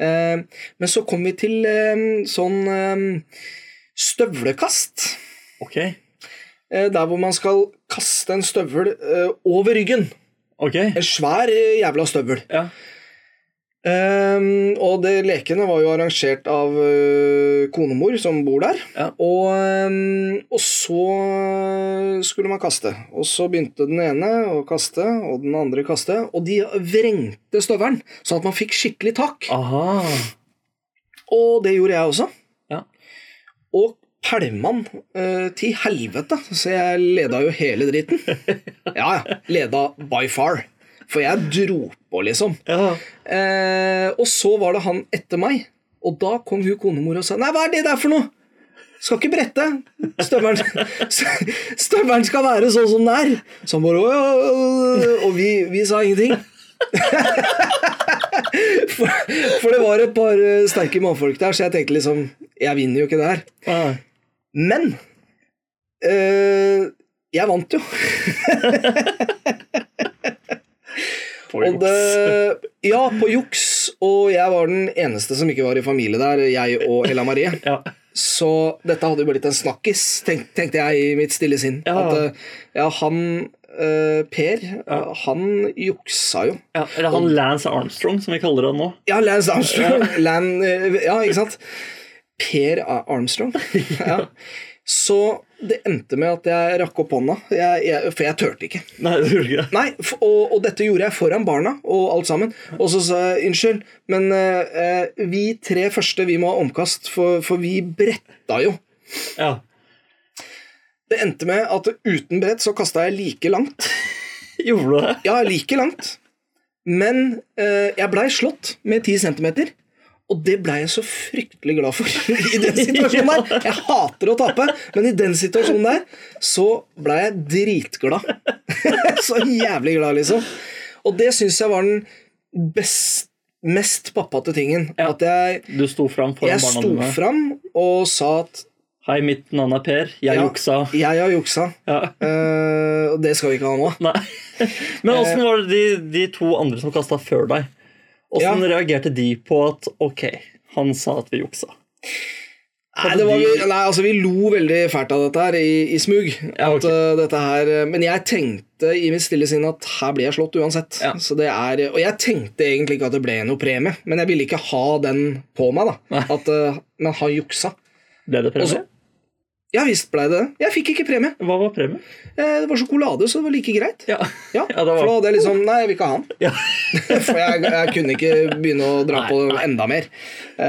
Eh, men så kom vi til eh, sånn eh, støvlekast. Ok. Eh, der hvor man skal kaste en støvel eh, over ryggen. Ok. En svær eh, jævla støvel. Ja. Ehm, og det lekene var jo arrangert av øh, konemor som bor der. Ja. Og, ehm, og så skulle man kaste. Og så begynte den ene å kaste, og den andre kaste. Og de vrengte støvelen, sånn at man fikk skikkelig tak. Aha. Og det gjorde jeg også. Ja. Og pælmann eh, til helvete, så jeg leda jo hele dritten. Ja, ja. Leda by far. For jeg dro på, liksom. Ja. Eh, og så var det han etter meg, og da kom hun konemor og sa Nei, hva er det der for noe? Skal ikke brette. Støvelen, støvelen skal være sånn som den er. Så han bare «Å, ja, ja, ja», Og vi, vi sa ingenting. For, for det var et par eh, sterke mannfolk der, så jeg tenkte liksom Jeg vinner jo ikke det her. Ah. Men eh, jeg vant jo. Får Og juks. det, ja, på juks. Og jeg var den eneste som ikke var i familie der, jeg og Ella Marie. Ja. Så dette hadde jo blitt en snakkis, tenk, tenkte jeg i mitt stille sinn. Ja. At eh, ja, han eh, Per, eh, han juksa jo. ja. Eller han Lance Armstrong, som vi kaller han nå. Ja, Lance Armstrong. Lan, eh, ja, ikke sant? Per A- Armstrong. Ja. Så det endte med at jeg rakk opp hånda, jeg, jeg, for jeg turte ikke. Nei, det gjorde ikke det. Nei, f- og, og dette gjorde jeg foran barna og alt sammen. Og så sa jeg unnskyld, men eh, eh, vi tre første vi må ha omkast, for, for vi bretta jo. Ja. Det endte med at uten brett så kasta jeg like langt. Gjorde du det? Ja, like langt. Men eh, jeg blei slått med 10 cm. Og det blei jeg så fryktelig glad for i den situasjonen der. Jeg hater å tape, men i den situasjonen der så blei jeg dritglad. så jævlig glad, liksom. Og det syns jeg var den best, mest pappate tingen. Ja. At jeg, Du sto fram foran jeg barna sto dine. fram og sa at Hei, mitt navn er Per. Jeg Ja. juksa. jeg har juksa. Ja. Eh, og det skal vi ikke ha nå. Nei. Men åssen var det de, de to andre som kasta før deg? Åssen reagerte de på at ok, han sa at vi juksa? Nei, det var, nei, altså vi lo veldig fælt av dette her i, i smug. Ja, At, ok. eh, dette her, eh, men jeg tenkte i mitt stille sinn at her blir jeg slått uansett. Ja. Så det er, og jeg tenkte egentlig ikke at det ble noe premie, men jeg ville ikke ha den på meg. da. At, eh, men han juksa. Ble det premie? Også- Ja visst blei det det. Jeg fikk ikke premie. Hva var premie? Eh, Det var sjokolade, så det var like greit. Ja. Ja, Ja, det var- For da hadde jeg liksom Nei, jeg vil ikke ha han. Ja. For jeg, jeg kunne ikke begynne å dra Nei, på enda mer.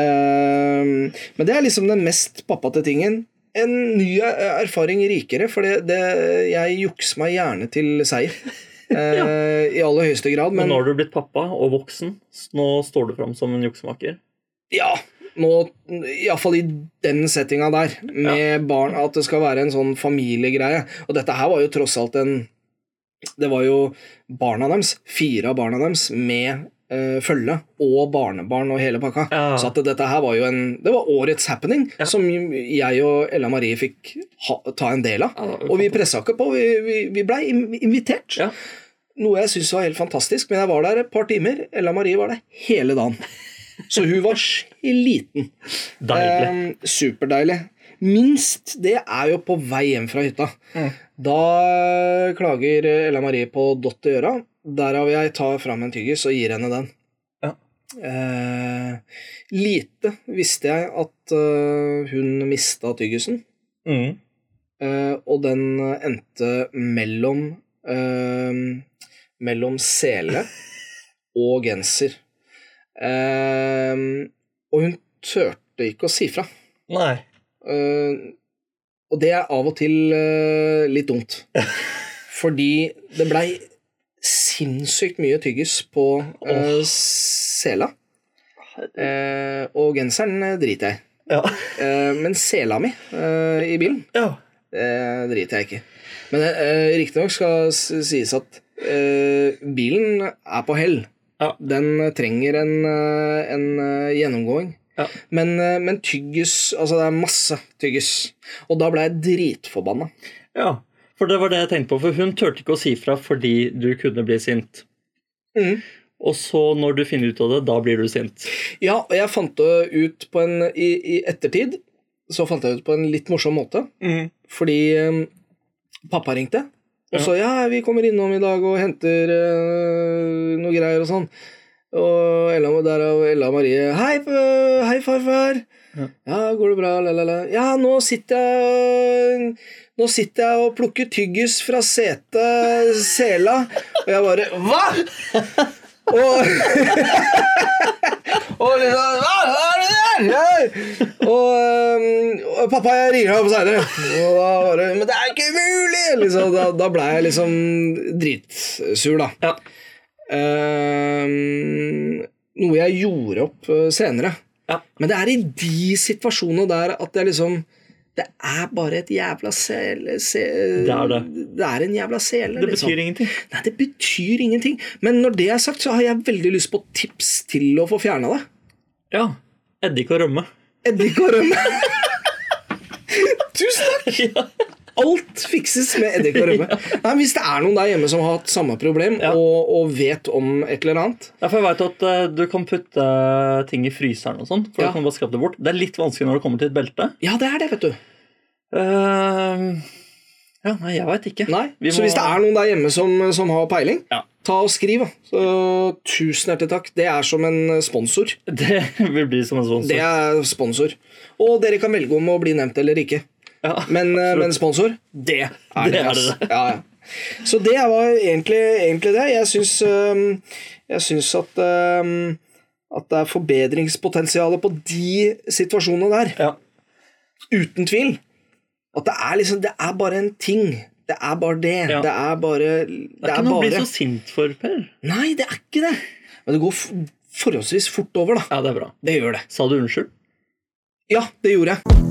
Ehm, men det er liksom den mest pappate tingen. En ny eh, erfaring rikere, for det, det, jeg jukser meg gjerne til seier. Eh, I aller høyeste grad. Men Men nå har du blitt pappa og voksen. s- Nå står du fram som en juksemaker. ja, nå, iallfall i den settinga der, med barn, at det skal være en sånn familiegreie. Og dette her var jo tross alt en Det var jo barna deres, fire av barna deres, med eh, følge og barnebarn og hele pakka. Ja. Så at dette her var jo en Det var årets happening, som jeg og Ella Marie fikk ha, ta en del av. Ja, det var og vi pressa ikke på, vi, vi, vi blei im- invitert. Ja. Noe jeg syntes var helt fantastisk, men jeg var der et par timer. Ella Marie var der hele dagen. Så hun var sliten. Deilig. Eh, superdeilig. Minst det er jo på vei hjem fra hytta. Mm. Da eh, klager Ella Marie på dott i øra. Derav jeg tar fram en tyggis og gir henne den. Ja. Eh, lite visste jeg at eh, hun mista tyggisen. Mm. Eh, og den endte mellom eh, Mellom sele og genser. Eh, og hun turte ikke å si fra. Nei. Eh, og det er av og til eh, litt dumt. Fordi det blei sinnssykt mye tyggis på eh, sela. Eh, og genseren eh, driter jeg i. Ja. Eh, men sela mi eh, i bilen ja. det driter jeg ikke i. Men eh, riktignok skal s- sies at eh, bilen er på hell. Ja. Den trenger en, eh, en eh, gjennomgåing. Ja. Men, eh, men tyggis Altså, det er masse tyggis. Og da ble jeg dritforbanna. ja. For det var det jeg tenkte på. For hun turte ikke å si fra fordi du kunne bli sint. Mhm. Og så når du finner ut av det, da blir du sint. Ja, og jeg fant det ut på en i, I ettertid så fant jeg ut på en litt morsom måte. Fordi eh, pappa ringte. Og så ja, vi kommer innom i dag og henter eh, noe greier og sånn. Og Ella, derav Ella Marie Hei, øh, hei farfar. Ja. Ja. går det bra? La, la, la. Ja, nå sitter jeg Nå sitter jeg og plukker tyggis fra setet sela. Og jeg bare Hva?! Og, og liksom Hva hva er det der?! Ja. Og, øhm, og pappa, jeg ringer deg opp seinere. Og da bare Men det er jo ikke mulig! Liksom, da da blei jeg liksom dritsur, da. Ja. Ehm, noe jeg gjorde opp eh, senere. Ja. Men det er i de situasjonene der at jeg liksom Det er bare et jævla sele... Se, Det er det. Det er en jævla sele. Det liksom. betyr ingenting. Nei, det betyr ingenting. Men når det er sagt, så har jeg veldig lyst på tips til å få fjerna det. Ja. Eddik og rømme. Eddik og rømme. Tusen takk! ja. Alt fikses med eddik og rømme. Nei, hvis det er noen der hjemme som har hatt samme problem, Ja. og, og vet om et eller annet Ja, for jeg vet at eh, du kan putte eh, ting i fryseren og sånn. For Ja. du kan vaske opp det bort. Det er litt vanskelig når det kommer til et belte. Ja, det er det, vet du. Eh, ja, nei, jeg veit ikke. Nei, Vi så må- hvis det er noen der hjemme som, som har peiling, Ja. ta og skriv. da. Så, tusen hjertelig takk. Det er som en sponsor. Det vil bli som en sånn sponsor. Det er sponsor. Og dere kan velge om å bli nevnt eller ikke. ja. Men, eh, men sponsor, det er Det det. er ass. det. Ja, ja. Så det var egentlig, egentlig det. Jeg syns, øhm, jeg syns at, øhm, at det er forbedringspotensial på de situasjonene der. ja. Uten tvil. At det er liksom Det er bare en ting. Det er bare det. Ja. Det er bare Det er, Det er ikke noe å bare bli så sint for, Per. Nei, det er ikke det. Men det går f- forholdsvis fort over, da. Ja, det er bra. Det gjør det. Sa du unnskyld? Ja, det gjorde jeg.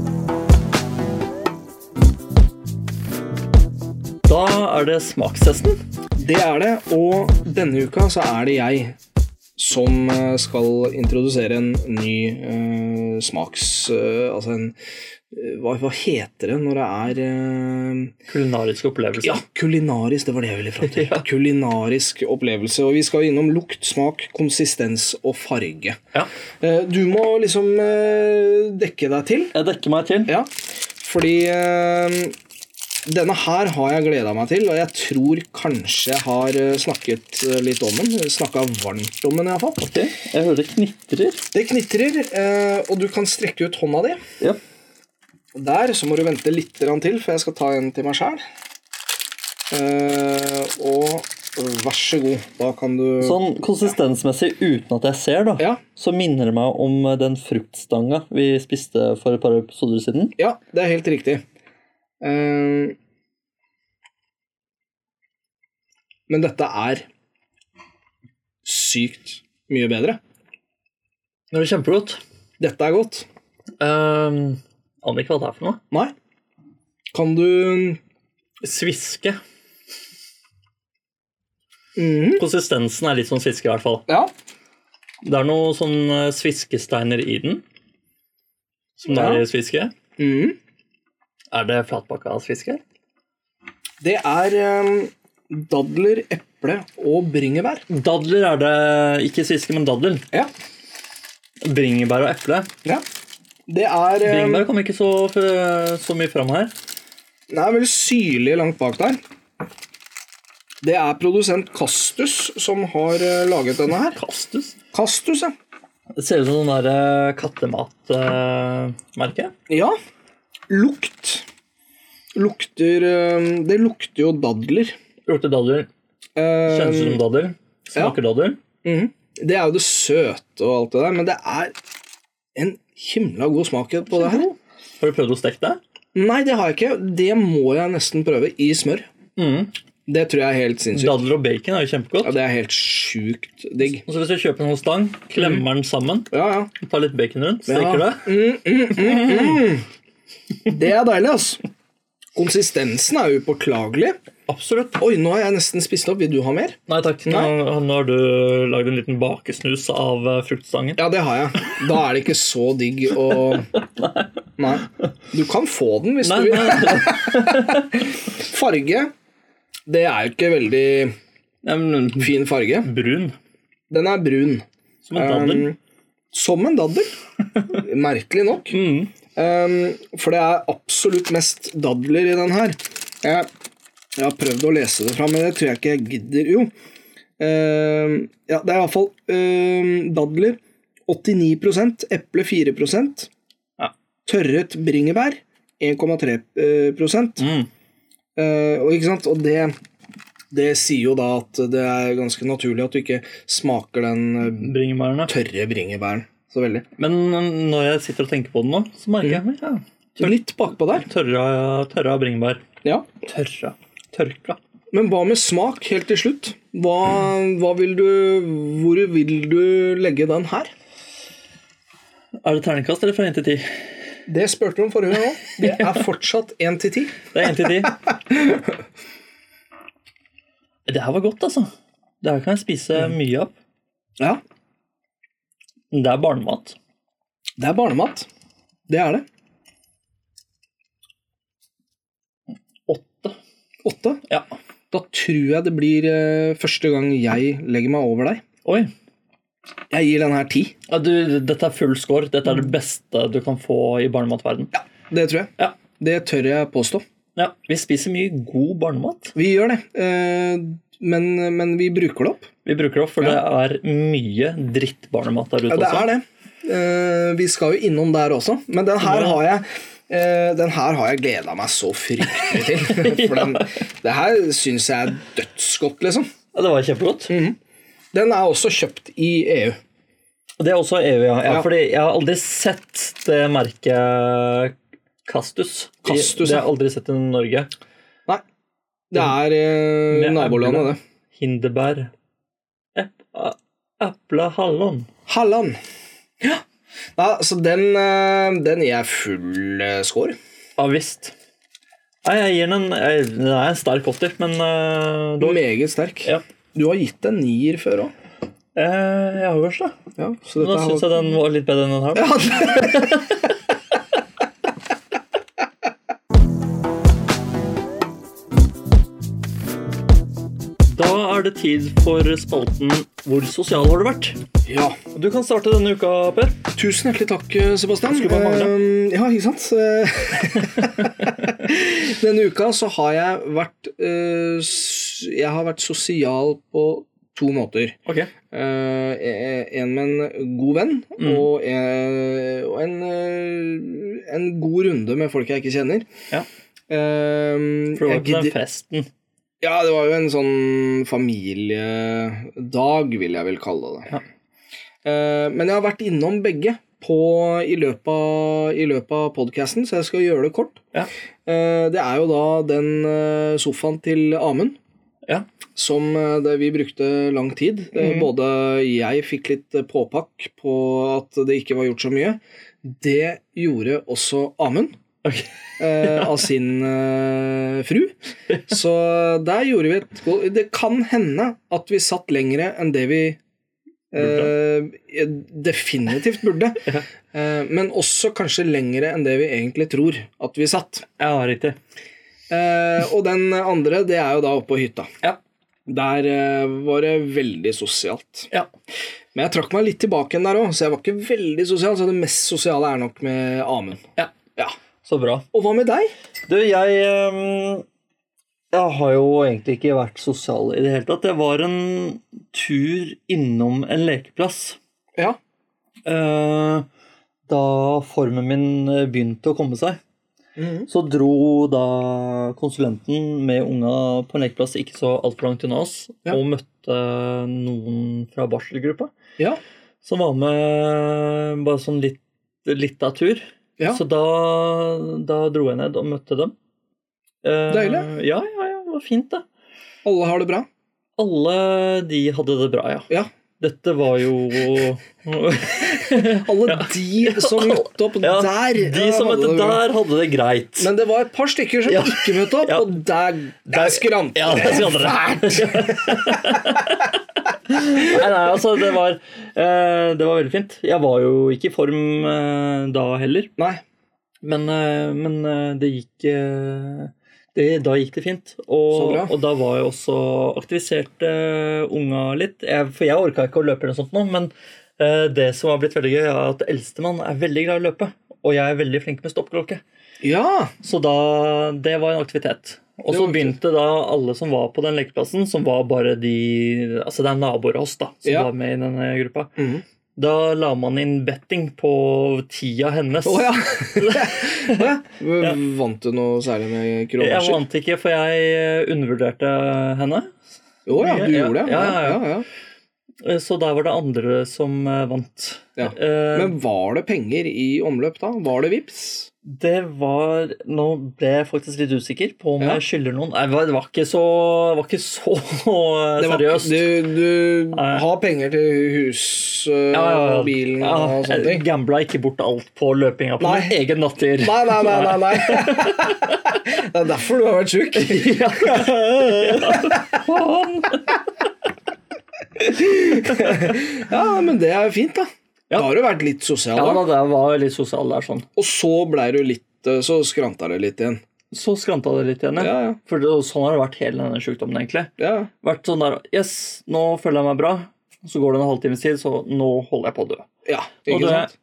Da er det smakstesten. Det er det, og denne uka så er det jeg som eh, skal introdusere en ny eh, smaks... eh, altså en eh, hva, hva heter det når det er eh, Kulinarisk opplevelse. Ja, kulinarisk, det var det jeg ville fram til. Ja. Kulinarisk opplevelse. Og vi skal innom lukt, smak, konsistens og farge. Ja. Eh, Du må liksom eh, dekke deg til. Jeg dekker meg til. Ja, fordi eh, denne her har jeg gleda meg til, og jeg tror kanskje jeg har eh, snakket eh, litt om den. Snakka varmt om den, iallfall. Ok, Jeg hører det knitrer. Det knitrer, eh, og du kan strekke ut hånda di. Ja. Og Der så må du vente litt grann til, for jeg skal ta en til meg sjæl. og vær så god. Da kan du Sånn konsistensmessig uten at jeg ser, da, Ja, så minner det meg om den fruktstanga vi spiste for et par episoder siden. ja, det er helt riktig. Eh, men dette er sykt mye bedre. Det er kjempegodt. Dette er godt. Um, Aner ikke hva det er for noe. Nei? Kan du Sviske. Mhm. Mm. Konsistensen er litt sånn sviske, i hvert fall. Ja. Det er noen sånne sviskesteiner i den. Som det Ja. er i sviske. Mhm. Er det flatpakka sviske? Det er eh, dadler, eple og bringebær. Dadler er det Ikke sviske, men dadler. Ja. Bringebær og eple. Det er eh, Bringebær kom ikke så, så mye fram her. Det er vel syrlig langt bak der. Det er produsent Kastus som har eh, laget denne her. Kastus. Kastus, ja. Det ser ut som sånn der kattematmerke. Eh, Ja. Lukt. Lukter eh, Det lukter jo dadler. Lukter dadler. Eh, Kjennes ut som dadler. Smaker dadler. mhm. Det er jo det søte og alt det der, men det er en himla god smak på det her. Har du prøvd å steke det? Nei, det har jeg ikke. Det må jeg nesten prøve i smør. Mm. Det tror jeg er helt sinnssykt. Dadler og bacon er jo kjempegodt. Ja, det er helt sjukt digg. Og så Hvis du kjøper en sånn stang, klemmer den sammen, Ja, ja. tar litt bacon rundt, steker Ja. Mm. det Det er deilig, ass. Konsistensen er upåklagelig. Absolutt. Oi, nå har jeg nesten spist opp. Vil du ha mer? Nei takk. Nå, nå har du lagd en liten bakesnus av eh, fruktstangen. Ja, det har jeg. Da er det ikke så digg å Nei. Du kan få den hvis Nei, du vil. nei, nei, Farge Det er jo ikke veldig men fin farge. Brun. Den er brun. Som en dadler. Um, som en daddel. Merkelig nok. Mm. Um, for det er absolutt mest dadler i den her. Jeg, jeg har prøvd å lese det fram, men det tror jeg ikke jeg gidder. Jo, Eh, ja, det er iallfall uh, dadler 89 eple 4 Ja. tørret bringebær 1,3 eh, prosent. Mm. Eh, og, ikke sant? og det, det sier jo da at det er ganske naturlig at du ikke smaker den eh, Bringebærene. tørre bringebæren så veldig. Men eh, når jeg sitter og tenker på den nå, så merker Mm. jeg ja, Litt bakpå der. tørra, tørra bringebær. Ja. Tørra. Tørka. Men hva med smak helt til slutt? Hva, hva vil du, hvor vil du legge den her? Er det terningkast eller fra 1 til 10? Det spurte du om forrige gang òg. Det er fortsatt 1 til 10. Det er 1 til 10. det her var godt, altså. Det her kan jeg spise Mm. mye av. Ja, Det er barnemat. det er barnemat. Det er det. Åtte. Åtte. Ja. Da tror jeg det blir eh, første gang jeg legger meg over deg. Oi. Jeg gir den her ti. Ja, du, dette er full score. Dette er Mm. det beste du kan få i barnematverden. Ja. Det tror jeg. Ja. Det tør jeg påstå. Vi spiser mye god barnemat. Vi gjør det, eh, men, men vi bruker det opp. Vi bruker det opp, for det er mye drittbarnemat der ute Ja, det også. er det. Eh, vi skal jo innom der også, men den her har jeg eh, den her har jeg gleda meg så fryktelig til. For den, det her syns jeg er dødsgodt, liksom. Ja, det var kjempegodt. Mm. Den er også kjøpt i E EU. Det er også EU, ja. ja, Ja. Fordi jeg har aldri sett det merket Kastus. I- Kastus, det ja. har jeg aldri sett i Norge. Nei. Det er eh, Med nabolandet, eple. det. Hindebær. Ep- a- Eple, hallon. Halland. Ja. Nei, så den, eh, den gir jeg full eh, score. Ja visst. Nei, jeg gir den en jeg- Den er en sterk åtter, men Mm. eh, dog. Meget sterk. Ja. Du har gitt en nier før òg. Eh, jeg har hørt det. Ja, så dette Men da har- syns jeg den var litt bedre enn den her. Ja. Da er det tid for spalten Hvor sosial har du vært? ja. Du kan starte denne uka, Per. Tusen hjertelig takk, Sebastian. Skulle bare mangle. Eh, ja, ikke sant? Eh, Denne uka så har jeg vært eh, s- Jeg har vært sosial på to måter. Ok. Eh, en med en god venn Mm. og, en, og en, eh, en god runde med folk jeg ikke kjenner. Ja. Eh, For det var jeg ikke den gidder, festen. ja, det var jo en sånn familiedag, vil jeg vel kalle det. Ja. Eh, men jeg har vært innom begge på, i løpet av, i løpet av podkasten, så jeg skal gjøre det kort. Ja. Eh, det er jo da den eh, sofaen til Amund Ja. Mhm. som eh, det vi brukte lang tid. Eh, Både jeg fikk litt eh, påpakk på at det ikke var gjort så mye. Det gjorde også Amund. Ok. eh, Av sin eh, fru. Så der gjorde vi et go- Det kan hende at vi satt lengre enn det vi eh, definitivt burde. Eh, men også kanskje lengre enn det vi egentlig tror at vi satt. Ja, riktig. Eh, og den andre, det er jo da oppe på hytta. Ja. Der eh, var det veldig sosialt. Ja. Men jeg trakk meg litt tilbake igjen der òg, så jeg var ikke veldig sosial. Så det mest sosiale er nok med Amund. Ja. Ja. Så bra. Og hva med deg? Du, jeg ehm, Jeg har jo egentlig ikke vært sosial i det hele tatt. Det var en tur innom en lekeplass. Ja. Eh, da formen min eh, begynte å komme seg, så dro da konsulenten med unga på en lekeplass ikke så altfor langt unna oss, Ja. og møtte noen fra barselgruppa ja. som var med bare sånn litt, litt av tur. Ja. Så da, da dro jeg ned og møtte dem. Eh, Deilig. Ja, ja, ja, det var fint, det. Alle har det bra? Alle de hadde det bra, ja. Ja. Dette var jo Alle de som møtte opp Ja, der. De ja, som hadde møtte det bra. der, hadde det greit. Men det var et par stykker som Ja. ikke møtte opp, Ja. og der, der skrant Ja, det skal dere. nei, nei, altså, det var, eh, det var veldig fint. Jeg var jo ikke i form eh, da heller, Nei. men, eh, men eh, det gikk eh, det, Da gikk det fint. Og, Så bra. og da var jeg også aktivisert eh, unga litt. Jeg, for jeg orka ikke å løpe eller noe sånt nå, men eh, det som har blitt veldig gøy, er at eldstemann er veldig glad i å løpe. Og jeg er veldig flink med stoppklokke. Ja, Så da, det var en aktivitet. Og Det så var begynte da alle som var på den lekeplassen, som var bare de Altså det er naboer av oss da, som Ja. var med i denne gruppa. Mhm. Da la man inn betting på tida hennes. Å ja. Å ja. Vant du noe særlig med Jeg kronasjer? vant ikke, for jeg eh, undervurderte henne. Å ja, du Ja, gjorde det? ja, ja, ja. ja, ja. Eh, Så der var det andre som eh, vant. Ja, Eh, Men var det penger i omløp da? Var det vips? Det var Nå ble jeg faktisk litt usikker på om Ja. jeg skylder noen. Nei, det var- det var ikke så, det var ikke så Det var- seriøst. Du, du Nei. har penger til hus øh, Ja, ja, ja. og bilen og sånne Jeg ting? gambla ikke bort alt på løpinga på Nei. min egen natter. Nei, nei, nei. nei, nei. det er derfor du har vært sjuk. Ja. Faen. Ja, men det er jo fint, da. Ja. Da har du vært litt sosial. ja da. da, det var litt sosial der, sånn. Og så blei du litt øh, Så skranta det litt igjen. Så skranta det litt igjen, ja. Ja, ja. For det, sånn har det vært hele denne sjukdommen, egentlig. ja. Vært sånn der Yes, nå føler jeg meg bra. Så går det en halvtimes tid, så nå holder jeg på å dø. ja Og ikke det- sant?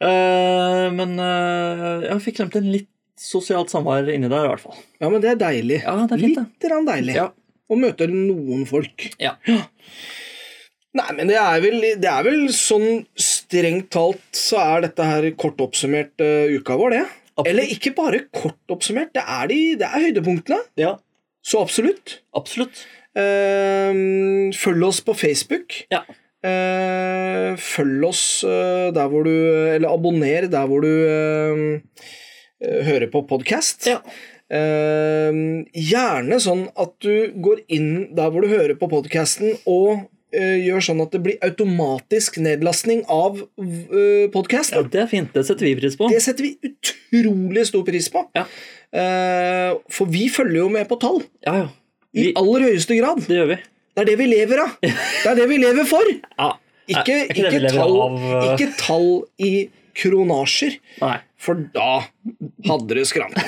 Eh, men eh, jeg fikk glemt en litt sosialt samvær inni der, i hvert fall. Ja, men det er deilig. Ja, det er fint, det. litt grann deilig. Ja. Og møter noen folk. Ja. Nei, men det er vel, det er vel sånn strengt talt så er dette her kort oppsummert eh, uka vår, det. Absolutt. Eller ikke bare kort oppsummert, det er, de, det er høydepunktene. ja. Så absolutt. Absolutt. Eh, følg oss på Facebook. Ja. Eh, følg oss eh, der hvor du Eller abonner der hvor du eh, eh, hører på podkast. Ja. Eh, gjerne sånn at du går inn der hvor du hører på podkasten, og eh, gjør sånn at det blir automatisk nedlastning av uh, ja, podkasten. det er fint. Det setter vi pris på. Det setter vi utrolig stor pris på. Ja. Eh, for vi følger jo med på tall. Ja, ja. I Vi, aller høyeste grad. det gjør vi. Det er det vi lever av. Det er det vi lever for. Ja. Ikke, Er- er ikke det ikke, vi lever tall, av, eh? ikke tall i kronasjer, Nei. for da hadde det skranta.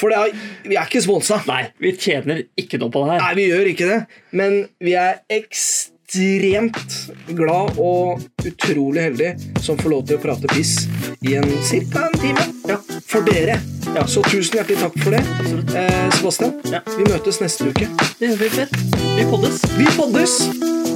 For det er, vi er ikke sponsa. Nei, vi tjener ikke noe på det her. Nei, vi gjør ikke det. Men vi er ekstremt glad og utrolig heldige som får lov til å prate piss i en cirka en time. Ja. For dere. Ja. Så tusen hjertelig takk for det, Absolutt. eh, Sebastian. Ja. Vi møtes neste uke. Det gjør vi ikke. Vi poddes. Vi poddes!